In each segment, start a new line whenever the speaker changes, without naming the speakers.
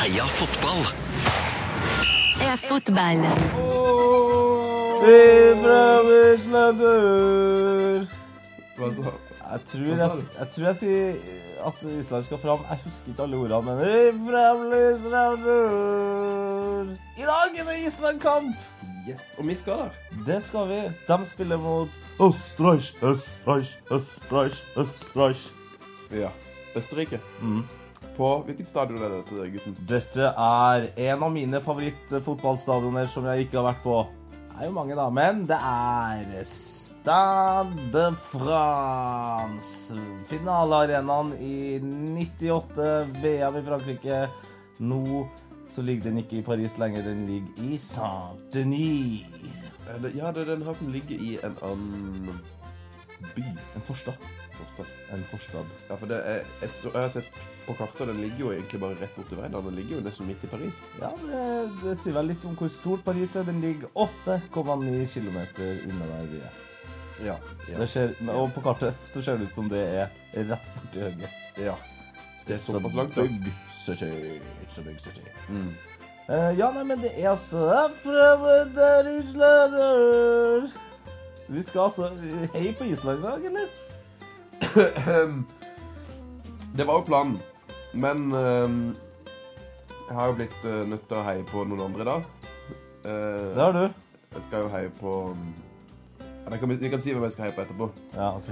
Heia fotball
er fotball.
Hva så?
Jeg tror jeg, jeg tror jeg sier at Island skal fram. Jeg husker ikke alle ordene, men «Hei, fremdeles fremdeles». I dag er det Island-kamp!
Yes, og vi skal der.
Det skal vi. De spiller mot Østerreich, Østerreich, Østerreich, Østerreich.
Ja. Østerrike.
Mm.
På hvilket stadion er det til gutten?
Dette er en av mine favorittfotballstadioner som jeg ikke har vært på. Det er jo mange, da, men det er Stade de France. Finalearenaen i 98, VM i Frankrike. Nå så ligger den ikke i Paris lenger, den ligger i Saint-Denis.
Eller, ja, det er den her som ligger i en annen by.
En forstad.
forstad.
En forstad.
Ja, for det er, jeg, så- jeg har sett på kartet, og den ligger jo egentlig bare rett borti veien. Den ligger jo nesten midt i Paris.
Ja, det, det sier vel litt om hvor stort Paris er. Den ligger 8,9 km unna der vi er.
Ja.
Det
Ja.
ser, og på kartet så ser det ut som det er rett borti høyre.
ja. Det er såpass langt, Mm. da.
big city. It's a big city. Eh, ja, nei, men det er altså Herfra der islender Vi skal altså hei på Island i dag, eller?
Ehm, Det var jo planen, men ehm, jeg har jo blitt eh, nødt til å heie på noen andre i dag. Eh,
Det har du.
Jeg skal jo heie på ja, det kan vi, vi kan si hvem jeg skal heie på etterpå.
Ja, ok.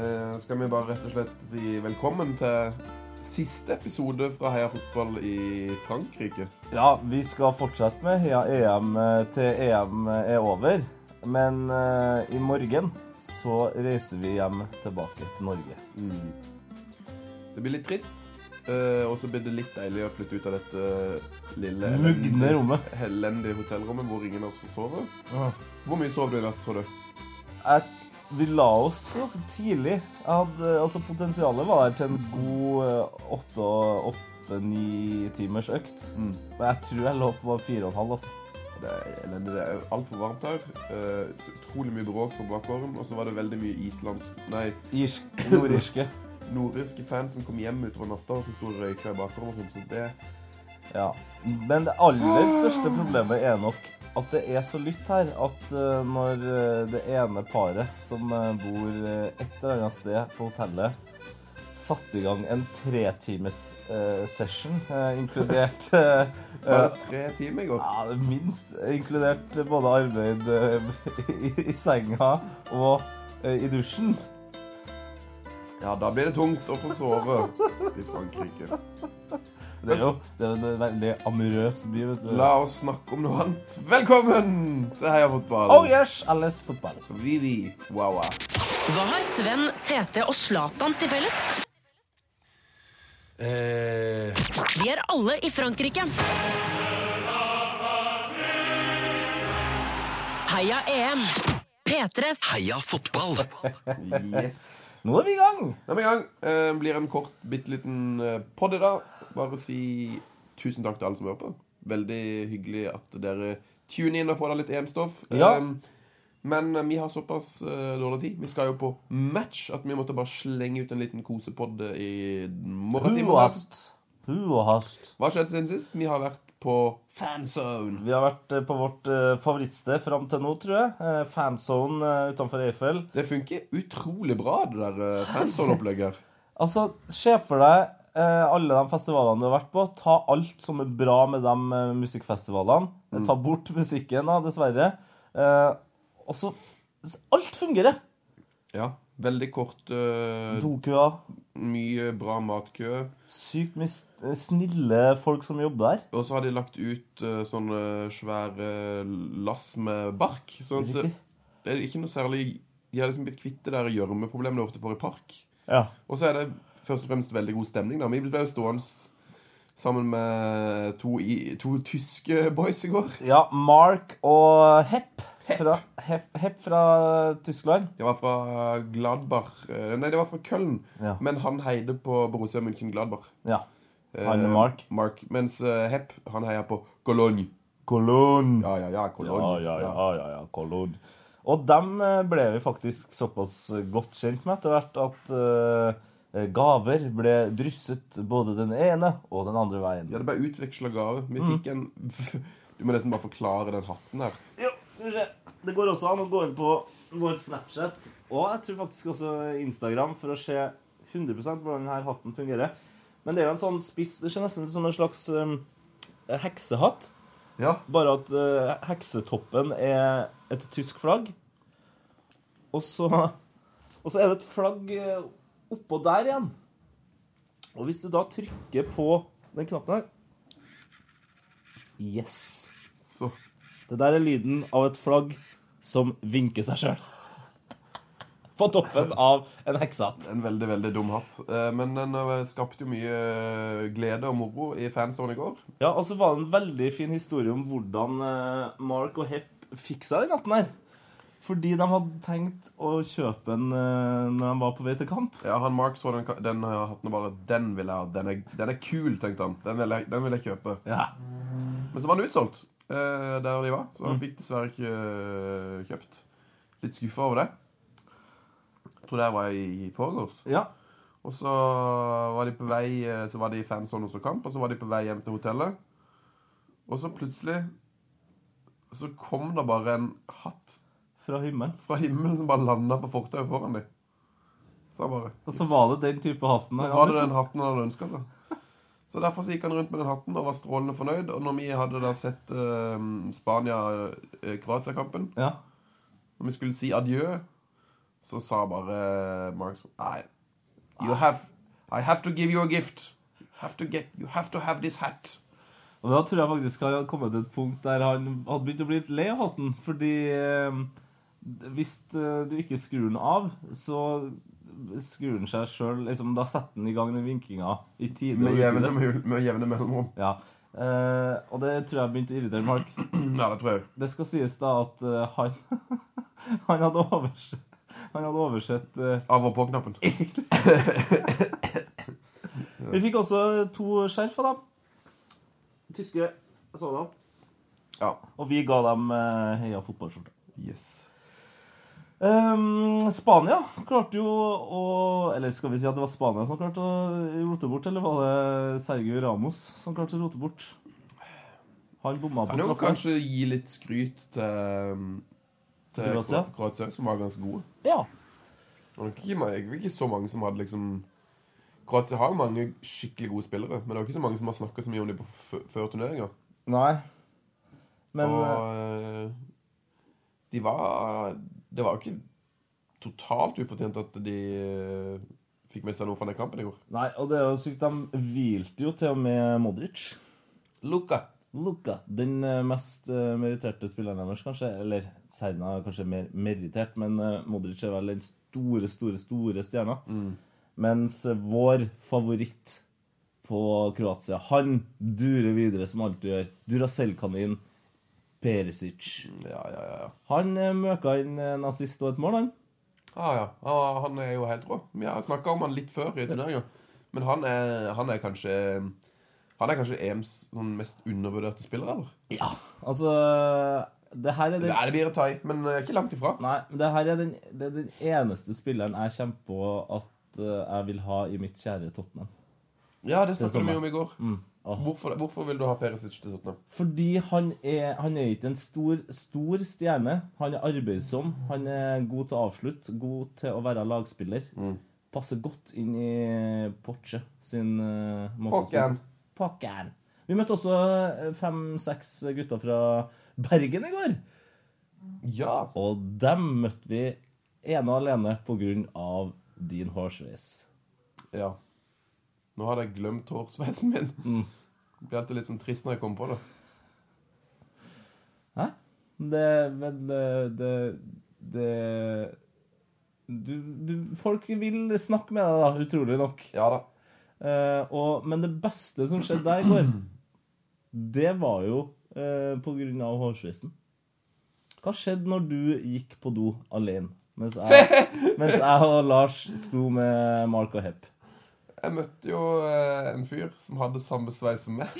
Eh, skal vi bare rett og slett si velkommen til siste episode fra Heia fotball i Frankrike.
Ja, vi skal fortsette med Heia EM eh, til EM eh, er over. Men eh, i morgen så reiser vi hjem tilbake til Norge.
Det blir litt trist, eh, og så blir det litt deilig å flytte ut av dette eh, lille
Mugne
elendige-
rommet.
elendige hotellrommet hvor ingen av oss får sove. Hvor mye sov du i natt, så du?
jeg, vi la oss altså, tidlig. Jeg hadde, altså, potensialet var der til en god eh, åtte-ni timers økt.
Mm.
Men jeg tror jeg lå på bare fire og en halv. altså.
Det er elendig. Det er altfor varmt her. Eh, så utrolig mye bråk på bakgården. Og så var det veldig mye islandsk Nei,
Irsk, Nordirske.
nordirske fans som kom hjem utover natta og som sto og røyka i bakgården. Og sånt, så det
Ja. Men det aller største problemet er nok at det er så lytt her at eh, når eh, det ene paret som eh, bor eh, et eller annet sted på hotellet, satte i gang en tretimes uh, session, eh, inkludert eh, eh,
var det tre timer i går.
Ja, det minst. Inkludert både arbeid eh, i, i senga og eh, i dusjen.
Ja, da blir det tungt å få sove i Frankrike.
Det er jo det er en veldig amorøs by, vet du.
La oss snakke om noe annet. Velkommen til Heia fotball.
Oh yes, alles fotball.
Vivi Wawa.
Hva har Sven, Tete og Zlatan til felles? De er alle i Frankrike. Heia E EM. P3
Heia fotball
Yes.
Nå er vi i gang!
Da er vi i gang. Eh, blir en kort, bitte liten pod i dag. Bare si tusen takk til alle som hører på. Veldig hyggelig at dere tuner inn og får da litt EM-stoff.
Ja.
Eh, men eh, vi har såpass eh, dårlig tid. Vi skal jo på match at vi måtte bare slenge ut en liten kosepod i morgentimene.
Huast. Huast.
Hva har skjedd siden sist? Vi har vært på fanzone.
Vi har vært eh, på vårt eh, favorittsted fram til nå, tror jeg. Eh, Fanzone eh, utenfor Eiffel.
Det funker utrolig bra, det der eh, fanzone-opplegget her.
Altså, se for deg eh, alle de festivalene du har vært på. Ta alt som er bra med de eh, musikkfestivalene. Ta bort musikken, da, dessverre. Eh, og så f- s- Alt fungerer!
Ja. Veldig kort, eh,
Dokua.
mye bra matkø.
Sykt mye s- eh, snille folk som jobber der.
Og så har de lagt ut eh, sånne svære lass med bark. Sånn at det,
Riktig.
det er ikke noe særlig De har liksom blitt kvitt det der gjørmeproblemet du ofte får i park.
Ja.
Og så er det først og fremst veldig god stemning. da Vi ble jo stående sammen med to, i, to tyske boys i går.
ja Mark og Hepp fra, Hepp, Hepp fra Tyskland.
De var fra Gladbach eh, Nei, de var fra Köln.
Ja.
Men han heide på Borussia München Gladbach. eh,
Ja. Han og Mark.
Mark. Mens eh, Hepp, han heier på Cologne.
Cologne.
Ja, ja, ja, Cologne.
Ja, ja, ja, ja, ja, Collard. Og dem eh, ble vi faktisk såpass godt kjent med etter hvert at eh, Eh, Gaver ble drysset både den ene og den andre veien.
Vi hadde bare utveksla gave. Vi fikk en Du må nesten bare forklare den hatten her.
Jo, skal vi se. Det går også an å gå inn på vår Snapchat og jeg tror faktisk også Instagram for å se 100 hvordan denne hatten fungerer. Men det er jo en sånn spiss Det ser nesten ut som en slags um, heksehatt.
Ja.
Bare at eh, heksetoppen er et tysk flagg. Og så, og så er det et flagg eh, oppå der igjen. Og hvis du da trykker på den knappen her Yes.
Så
Det der er lyden av et flagg som vinker seg sjøl. På toppen av en heksehatt.
en veldig, veldig dum hatt. Eh, Men den eh, skapte jo mye eh, glede og moro i fansonen i går.
Ja, og så var det en veldig fin historie om hvordan eh, Mark og Hepp fikk seg den natten her. Fordi de hadde tenkt å kjøpe den eh, når de var på vei til kamp.
Ja, han Mark så den, ka- den har jeg hatt nå bare Den vil jeg ha. Den er, den er kul, tenkte han. Den vil, jeg, den vil jeg kjøpe.
Ja.
Men så var den utsolgt eh, der de var, så han fikk dessverre ikke eh, kjøpt. Litt skuffa over det. Jeg tror det her var i forgårs.
ja.
Og så var de på vei eh, Så var de i fansonen hos kamp, og så var de på vei hjem til hotellet. Og så plutselig så kom det bare en hatt
Fra himmelen.
fra himmelen som bare landa på fortauet foran dem. Så han bare
Og så var det den type hatten.
så
her,
var det
liksom.
den hatten han hadde ønska seg. Så derfor så gikk han rundt med den hatten og var strålende fornøyd. Og når vi hadde da sett eh, Spania-Kroatia-kampen,
Ja.
når vi skulle si adjø, så sa bare Mark sånn Nei, you have, I have to give you a gift. Have to get, you have to have this hat.
Og da tror jeg faktisk han hadde kommet til et punkt der han hadde begynt å bli litt lei av hatten. Fordi eh, hvis eh, du ikke skrur den av, så skrur den seg sjøl liksom, Da setter den i gang den vinkinga i tide og
Med jevne,
utide.
mul- med jevne mellomrom.
Ja. Eh, og det tror jeg begynte å irritere Mark.
Ja, det tror jeg.
Det skal sies da at eh, han, han hadde oversett, han hadde oversett eh,
Av og på-knappen.
Vi fikk også to skjerf av dem. Tyske sådan.
Ja.
Og vi ga dem eh, heia fotballskjorte.
Yes.
Ehm, Spania klarte jo å Eller skal vi si at det var Spania som klarte å rote bort, eller var det Sergio Ramos som klarte å rote bort? Han bomma på
Kan jo
straffe.
kanskje gi litt skryt til, til
Kroatia?
Kro- Kroatia, som var ganske gode.
Ja.
Det var nok ikke, mange- det var ikke så mange som hadde liksom Kroatia har mange skikkelig gode spillere, men det var ikke så mange som har snakka så mye om dem på f- før turneringa.
Nei. Men eh,
Og eh, de var Det var jo ikke totalt ufortjent at de eh, fikk med seg noe fra den kampen i går.
Nei, og det er jo sykt. De hvilte jo til og med Modric.
Luka.
Luka, den eh, mest eh, meritterte spilleren deres, kanskje. Eller Serna er kanskje mer merittert, men eh, Modric er vel den store, store, store stjerna. Mens eh, vår favoritt på Kroatia, han durer videre som alltid gjør. Duracell-kanin Perisic.
Ja, ja, ja. ja.
Han eh, møka inn eh, en assist og et mål, han.
Ah, ja. Ah, han er jo helt rå. Vi har snakka om han litt før i turneringa, men han er, han er kanskje Han er kanskje EMs sånn mest undervurderte spiller, eller?
Ja, altså Det her er den
Det er det blir å ta i, men eh, ikke langt ifra.
Nei, men det her er den, det er den eneste spilleren jeg kommer på at eh, jeg vil ha i mitt kjære Tottenham.
Ja, det
Det er
snakket vi
samme.
om Mm. i går.
Åh.
Hvorfor, hvorfor vil du ha Perisic til Tottenham?
Fordi han er, han er ikke en stor, stor stjerne. Han er arbeidsom. Han er god til å avslutte. God til å være lagspiller. Passer godt inn i Poche sin eh, måte å spille
Pokken.
på. Pokken. Vi møtte også eh, fem-seks gutter fra Bergen i går.
Ja.
Og dem møtte vi ene og alene på grunn av din hårsveis.
ja. Nå hadde jeg glemt hårsveisen min. Det blir alltid litt sånn trist når jeg kommer på det.
Hæ? Det Men eh, det, det du, du, folk vil snakke med deg, da, utrolig nok.
Ja da.
Eh, og, men det beste som skjedde deg i går, det var jo eh, på grunn av hårsveisen. Hva skjedde når du gikk på do alene, mens jeg, mens jeg og Lars sto med Mark og Hepp?
Jeg møtte jo eh, en fyr som hadde samme sveis som meg.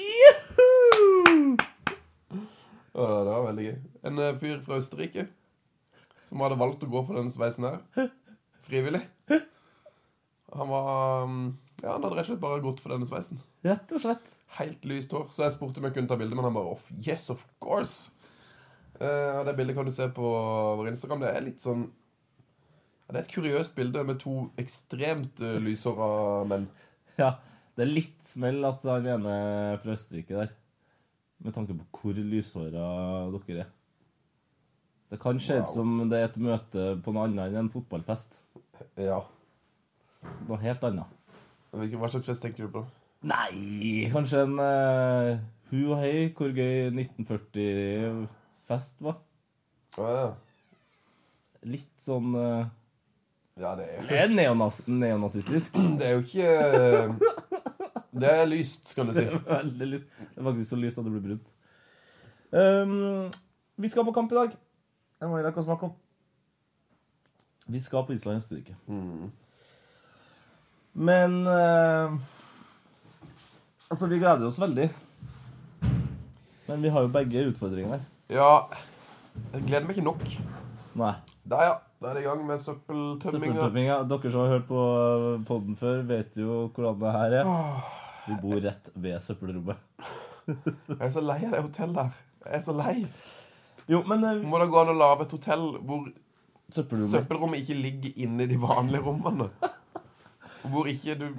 Å, det var veldig gøy. En eh, fyr fra Østerrike som hadde valgt å gå for denne sveisen her. Frivillig. Han var um, Ja, han hadde rett og slett bare gått for denne sveisen.
Rett og slett.
Helt lyst hår. Så jeg spurte om jeg kunne ta bilde, men han bare off. Yes, of course! Eh, og Det bildet kan du se på vår Instagram. Det er litt sånn ja, Det er et kuriøst bilde med to ekstremt uh, lyshåra menn.
Ja, Det er litt smell at han ene fra Østerrike der. Med tanke på hvor lyshåra dere er. Det kan se ut
Wow.
som det er et møte på noe annet enn en fotballfest.
Ja.
Noe helt annet.
Hvilken, hva slags fest tenker du på?
Nei, kanskje en eh, hu og hei, hvor gøy 1940-fest var.
Ah,
Litt sånn eh,
ja, det er,
Det er neonaz neonazistisk.
det er jo ikke eh, Det er lyst, skal du si.
Veldig lyst. Det er faktisk så lyst at det blir brunt. Um, vi skal på kamp i dag. Det må vi rekke å snakke om. Vi skal på Island og Østerrike. Men eh, Altså, vi gleder oss veldig. Men vi har jo begge utfordringene.
Ja Jeg gleder meg ikke nok.
Nei.
Der, ja. Da er det i gang med søppeltømminga.
Søppeltømminga. Dere som har hørt på eh, podden før, vet jo hvordan det her er. Vi bor rett ved søppelrommet.
Jeg er så lei av det hotellet her. Jeg er så lei.
Jo, men eh,
Må det gå an å lage et hotell hvor
søppelrommet
søppelrommet ikke ligger inne i de vanlige rommene? Og Hvor ikke du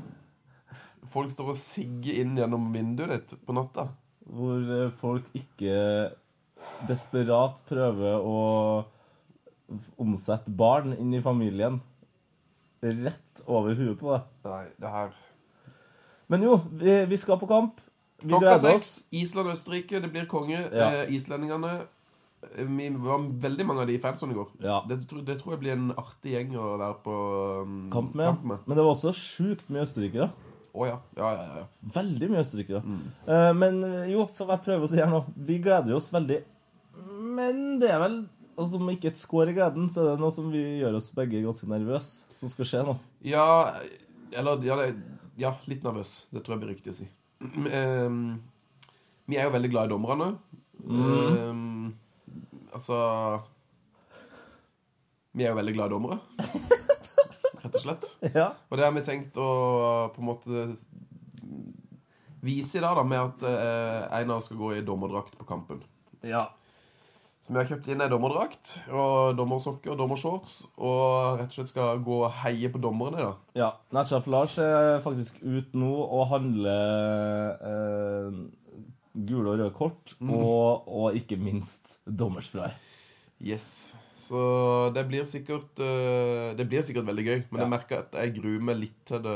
Folk står og sigger inn gjennom vinduet ditt på natta.
hvor eh, folk ikke desperat prøver å f- omsette barn inn i familien. Rett over huet på deg.
Nei, det her
Men jo, vi, vi skal på kamp. Vi
Klokka
gleder
seks.
oss.
Island-Østerrike. Det blir konge.
Ja.
Eh, islendingene eh, Vi var veldig mange av de fansene i går.
Ja.
Det, tror- det tror jeg blir en artig gjeng å være på um,
Kamp med. Men det var også sjukt mye østerrikere.
Å ja. Ja, ja, ja, ja.
Veldig mye østerrikere. Eh, men jo, som jeg prøver å si her nå, vi gleder oss veldig. Men det er vel altså, Om ikke et skår i gleden, så er det noe som vi gjør oss begge ganske nervøse, som skal skje nå.
Ja, eller ja, det, ja, litt nervøs. Det tror jeg blir riktig å si. Ehm, vi er jo veldig glad i dommerne. Ehm, altså Vi er jo veldig glad i dommere, rett og slett.
Ja.
Og det har vi tenkt å på en måte s- vise i dag, da, med at eh, Einar skal gå i dommerdrakt på kampen.
ja.
Så vi har kjøpt inn ei dommerdrakt og dommersokker og dommershorts, og rett og slett skal gå og heie på dommerne, da.
Ja. Natchaf Lars er faktisk ut nå og handler eh, gule og røde kort, og, og ikke minst dommerspray.
Yes. Så det blir sikkert eh, Det blir sikkert veldig gøy. Men jeg
Ja.
merker at jeg gruer meg litt til det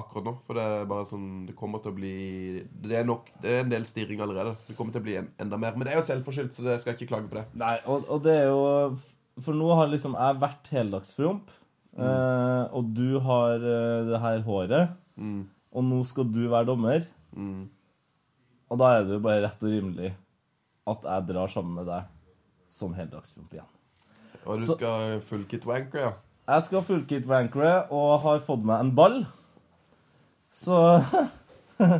akkurat nå. For det er bare sånn Det kommer til å bli Det er nok Det er en del stirring allerede. Det kommer til å bli en, enda mer. Men det er jo selvforskyldt, så det skal jeg ikke klage på det.
Nei, og, og det er jo For nå har liksom jeg vært heldagsfromp, eh, og du har eh, det her håret, og nå skal du være dommer. Og da er det jo bare rett og rimelig at jeg drar sammen med deg som heldagsfromp igjen.
Og du
Så-
skal full kit wanker, ja.
Jeg skal fullkit vankere og har fått meg en ball. Så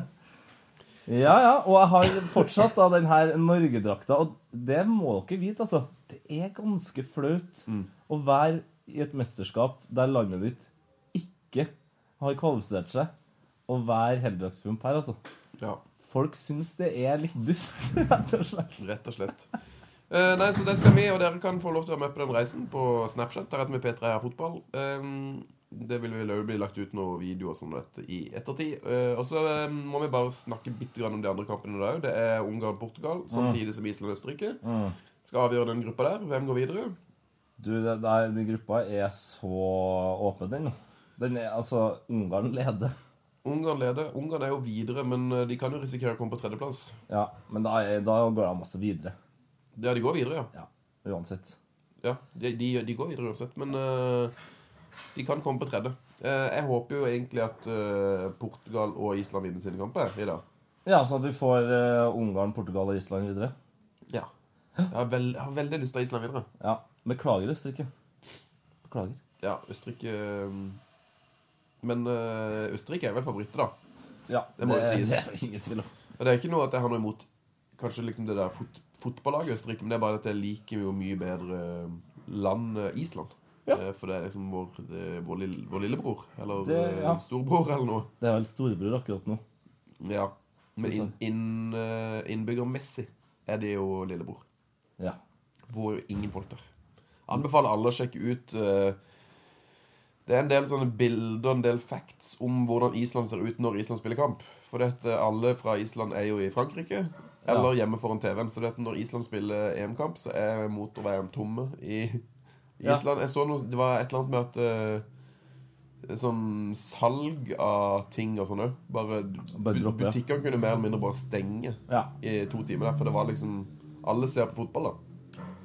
Ja, ja. Og jeg har fortsatt da den her Norgedrakta. Og det må dere vite, altså. Det er ganske flaut å være i et mesterskap der landet ditt ikke har kvalifisert seg, og være heldragsfump her, altså.
ja.
Folk syns det er litt dust, rett og slett.
Rett og slett. Eh, nei, så det skal vi, og dere kan få lov til å være med på den reisen på Snapchat. Der heter vi P3 her fotball. Eh, det vil vel også bli lagt ut noen videoer som dette i ettertid. Eh, og så eh, må vi bare snakke bitte grann om de andre kampene der òg. Det er Ungarn-Portugal samtidig som Island og Østerrike. Skal avgjøre den gruppa der. Hvem går videre?
Du, det, det er, den gruppa er så åpen, den. Den er altså Ungarn leder.
Ungarn leder. Ungarn er jo videre, men eh, de kan jo risikere å komme på tredjeplass.
Ja, men da, er- da går de også videre.
Ja, de går videre, ja.
Ja, uansett.
Ja, de, de, de går videre uansett, men eh, de kan komme på tredje. Eh, jeg håper jo egentlig at eh, Portugal og Island vinner sine kamper i dag.
Ja, sånn at vi får eh, Ungarn, Portugal og Island videre.
Ja. Jeg har, vel, jeg har veldig lyst til at Island vinner.
Ja, Beklager, Østerrike. Beklager.
Ja, Østerrike eh, Men eh, Østerrike er vel favoritter, da.
Ja,
Det må jo sies.
Det er det ingen tvil om.
Og det er ikke noe at jeg har noe imot kanskje liksom det der fot fotballaget Østerrike, men det er bare at jeg liker jo mye bedre land eh, Island. Eh, For det er liksom vår, det er vår, lille, vår lillebror. Eller
Det- ja.
eh, storbror, eller noe.
Det er vel storebror akkurat nå.
Ja. Men inn,
sant.
inn, eh, innbyggermessig er det jo lillebror.
Ja.
Bor jo ingen folk der. Anbefaler alle å sjekke ut eh, Det er en del sånne bilder og en del facts om hvordan Island ser ut når Island spiller kamp. For dette, alle fra Island er jo i Frankrike eller hjemme foran TV-en. Så dette, når Island spiller EM-kamp, så er motorveien tomme i
Ja.
Island. Jeg så noe, Det var et eller annet med at eh, Sånn salg av ting og sånn òg. Bare,
Bare
bu-
droppe, ja.
Butikkene kunne mer eller mindre bare stenge
ja.
i to timer der. For det var liksom Alle ser på fotball, da.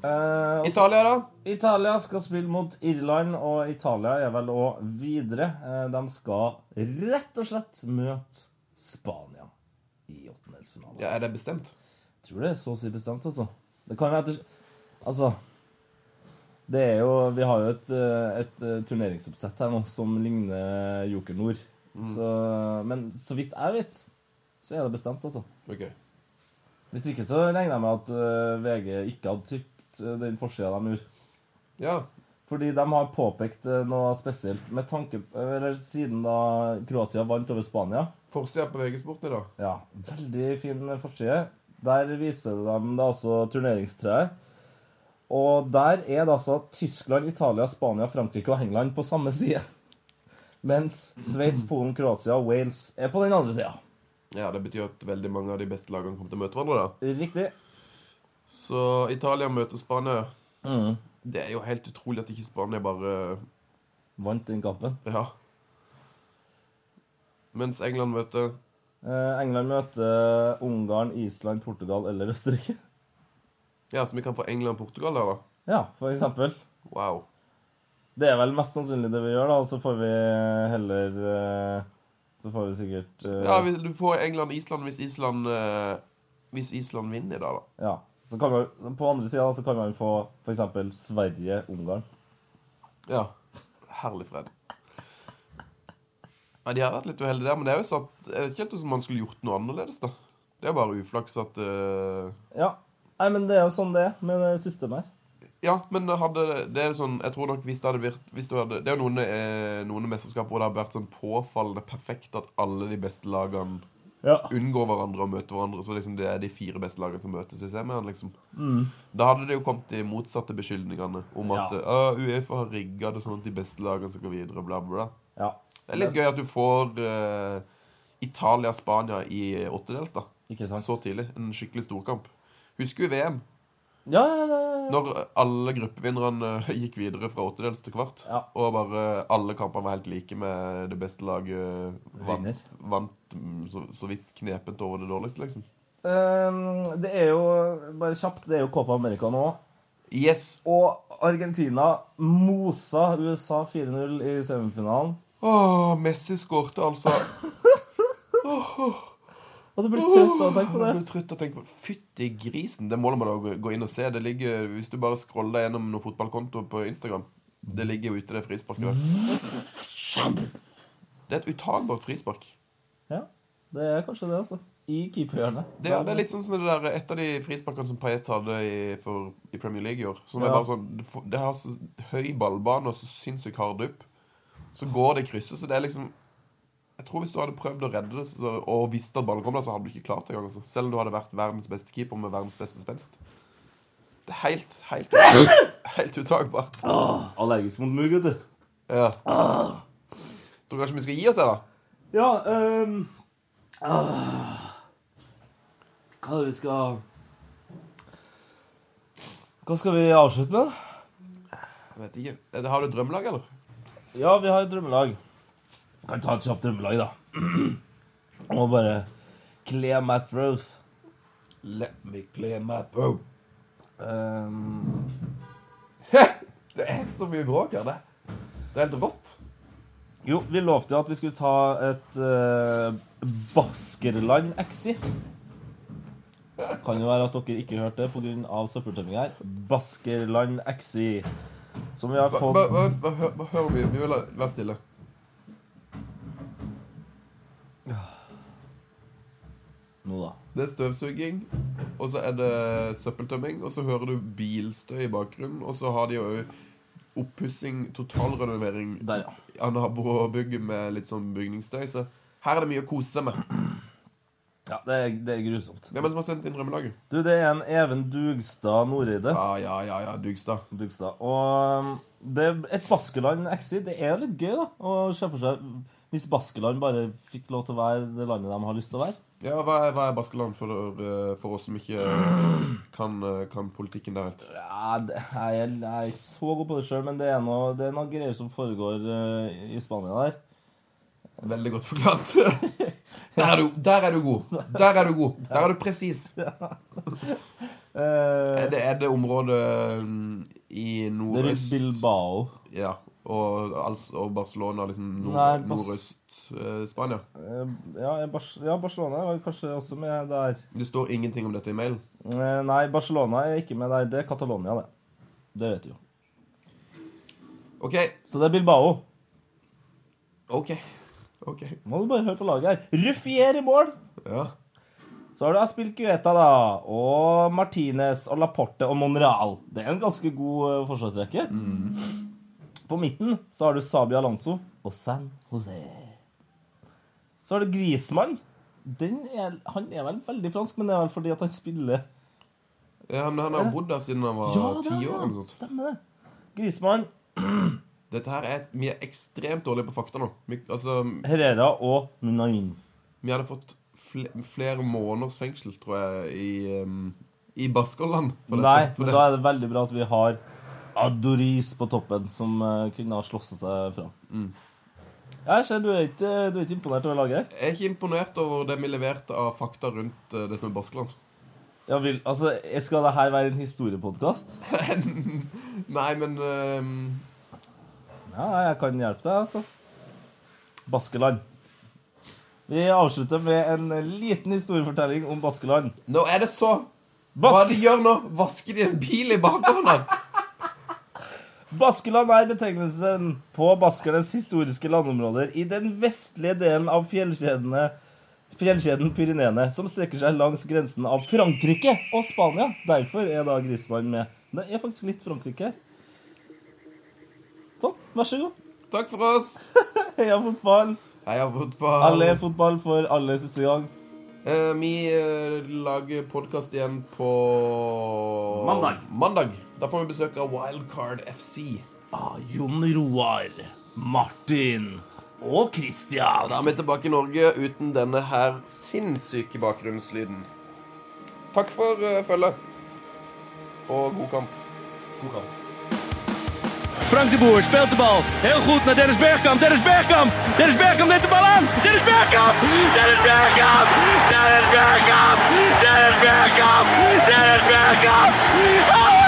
Eh,
Italia, da?
Italia skal spille mot Irland, og Italia er vel òg videre. Eh, De skal rett og slett møte Spania i åttendelsfinalen.
Ja, Er det bestemt?
Jeg tror det er så å si bestemt, altså. Det kan være at det- Altså Det er jo Vi har jo et, eh, et eh, turneringsoppsett her nå som ligner Joker Nord. Så, men så vidt jeg vet, så er det bestemt, altså.
Ok.
Hvis ikke så regner jeg med at eh, VG ikke hadde trykt eh, den forsida de gjorde.
Ja.
Fordi de har påpekt eh, noe spesielt med tanke Eller siden da Kroatia vant over Spania.
Forsida på VG-sporten i dag.
Ja, veldig fin forside. Der viser de da altså turneringstreet. Og der er det altså Tyskland, Italia, Spania, Frankrike og England på samme side. Mens Sveits, Polen, Kroatia og Wales er på den andre sida.
Ja, Det betyr at veldig mange av de beste lagene kommer til å møte hverandre. da
Riktig.
Så Italia møter Spania.
Mm,
Det er jo helt utrolig at ikke Spania bare
Vant den kampen.
Ja. Mens England møter
Eh, England møter eh, Ungarn, Island, Portugal eller Østerrike.
Ja, så vi kan få England-Portugal der, da.
Ja, for eksempel.
Wow.
Det er vel mest sannsynlig det vi gjør, da. Og så får vi heller eh, Så får vi sikkert eh,
Ja, vi- Du får England-Island hvis Island eh, Hvis Island vinner i dag, da.
ja. Så kan man, på andre sida så kan man få f.eks. Sverige-Ungarn.
Ja. Herlig fred. Ja, De har vært litt uheldige der, men det er jo satt Jeg vet ikke helt om man skulle gjort noe annerledes, da. Det er bare uflaks at eh,
Ja. Nei, men det er jo sånn det er med det systemet her.
Ja, men hadde det er sånn Jeg tror nok hvis det hadde vært hvis du hadde, Det er jo noen, eh, noen mesterskap hvor det har vært sånn påfallende perfekt at alle de beste lagene
Ja.
unngår hverandre og møter hverandre. Så liksom det er de fire beste lagene som møtes i semien. Liksom. Da hadde det jo kommet de motsatte beskyldningene om at
Ja.
«Å, Uefa har rigga det sånn at de beste lagene skal gå videre, bla, bla, bla.
ja.
Det er litt gøy at du får eh, Italia-Spania i eh, åttedels, da.
Ikke sant?
Så tidlig. En skikkelig storkamp. Husker jo VM.
Ja, ja, ja, ja.
Når alle gruppevinnerne gikk videre fra åttedels til kvart,
Ja.
og bare alle kampene var helt like med det beste laget eh,
Vinner.
vant, vant mm, så, så vidt knepent over det dårligste, liksom.
Ehm, det er jo Bare kjapt, det er jo Copa America nå.
Yes!
Og Argentina mosa USA 4-0 i semifinalen.
Åh, Messi skårte, altså.
Og du blir trøtt av å tenke på det.
Jeg ble trøtt av å tenke på Fytti grisen! Det målet må du gå- gå inn og se. Det ligger, hvis du bare scroller deg gjennom noen fotballkonto på Instagram Det ligger jo ute, det frisparket der. Det er et uttagbart frispark.
Ja, det er kanskje det, altså. I keeperhjørnet.
Det, er- det er litt sånn som det der, et av de frisparkene som Payet hadde i, for, i Premier League i år. Som er
Ja.
bare sånn, det får- det har så høy ballbane og så sinnssykt hard dupp. Så går det i krysset, så det er liksom Jeg tror hvis du hadde prøvd å redde det så, og visste at ballen kom der, så hadde du ikke klart det engang. Altså. Selv om du hadde vært verdens beste keeper med verdens beste spenst. Det er helt, helt, helt utagbart.
Allergisk mot mugg, vet du.
Ja. Tror kanskje vi skal gi oss her, da?
Ja, ehm ah. Hva er det vi skal Hva skal vi avslutte med, da?
Jeg vet ikke. Eh, Har du et drømmelag, eller?
Ja, vi har et drømmelag. Kan ta et kjapt drømmelag, da. Og bare kle my throat.
Le
Me clear my throat. Ehm,
det er så mye bråk her, det. Det er helt rått.
jo, vi lovte jo at vi skulle ta et eh, Baskerland-exi. Kan jo være at dere ikke hørte det pga. søppeltømming her. Baskerland-exi. Som vi har
Hva-
fått
hva- hva- hva hø- hva hører vi? Vi vil ha- være stille.
nå, da.
Det er støvsuging, og så er det søppeltømming, og så hører du bilstøy i bakgrunnen, og så har de jo oppussing, totalrenovering
Der, ja.
av nabobygget med litt sånn bygningsstøy. Så her er det mye å kose seg med.
Ja, det er, det er grusomt.
Hvem er det som har sendt inn Drømmelaget?
Du, det er en Even Dugstad Nordreide.
Ja, ja, ja, ja, Dugstad.
Dugstad. Og um, det er et Baskeland exit. Det er jo litt gøy, da, å se for seg hvis Baskeland bare fikk lov til å være det landet de har lyst til å være.
Ja, hva er, hva er Baskeland for, eh, for oss som ikke kan, eh, kan politikken der helt?
Ja, det, jeg, er- jeg er ikke så god på det sjøl, men det er, noe, det er noe greier som foregår eh, i Spania der.
Veldig godt forklart. Der er, du, der er du god. Der er du god. Der er du presis.
Eh,
Er det, er det området mm, i
det er i
nordøst
Bilbao.
Ja. Og, alt- og Barcelona, liksom nord,
Nei, Bas-
nordøst-Spania.
Eh, ja, i Bars ja, Barcelona var kanskje også med der.
Det står ingenting om dette i mailen.
Eh, nei, Barcelona er ikke med der. Det er Catalonia, det. Det vet du jo.
OK.
Så det er Bilbao.
OK. ok
Nå må du bare høre på laget her. Ruffier i mål!
Ja.
Så har du Aspilcueta, da. Og Martinez og Laporte og Monreal. Det er en ganske god eh, forsvarsrekke.
Mm.
På midten så har du Sabi Alonso og San Jose. Så har du Grismann. Den er, han er vel veldig fransk, men det er vel fordi at han spiller
ja men han har jo bodd der siden han var
Ja, det
ti
er
år. eller
han.
noe sånt.
Stemmer det. Grismann,
Dette her er et, Vi er ekstremt dårlige på fakta nå. Vi, altså,
Herrera og Nunain.
vi hadde fått fl flere måneders fengsel, tror jeg, i, um, i Baskerland. for dette.
Nei,
For
men
det-
da er det veldig bra at vi har Adoris på toppen, som eh, kunne ha slåss seg fra.
Mm.
Jeg ser du er ikke, du er ikke imponert over laget her.
Jeg er ikke imponert over det vi leverte av fakta rundt eh, dette med Baskeland.
Ja, vil, altså, skal det her være en historiepodkast?
Nei, men ehm,
Ja, nei, jeg kan hjelpe deg, altså. Baskeland. Vi avslutter med en liten historiefortelling om Baskeland.
Nå er det så Hva
Baske,
de gjør nå? Vasker de en bil i bakgården her?
Baskeland er betegnelsen på baskernes historiske landområder i den vestlige delen av fjellkjedene Fjellkjeden Pyreneene, som strekker seg langs grensen av Frankrike og Spania. Derfor er da Grismann med. Det er faktisk litt Frankrike her. Sånn, vær så god.
Takk for oss.
Heia fotball.
Heia fotball.
Alle er fotball for alle siste gang.
Eh, vi eh, lager podkast igjen på
Mandag.
Mandag. Da får vi besøk av Wildcard FC.
Ah, Jon Roar, Martin og Christian.
Da er vi tilbake i Norge uten denne her sinnssyke bakgrunnslyden. Takk for eh, følget. Og god kamp.
God kamp.
Frank de Boer speelt de bal. Heel goed naar Dennis Bergkamp. Dennis Bergkamp. Dennis Bergkamp neemt de bal aan. Dennis Bergkamp. Dennis Bergkamp. Dennis Bergkamp. Dennis Bergkamp. Dennis Bergkamp. Oh!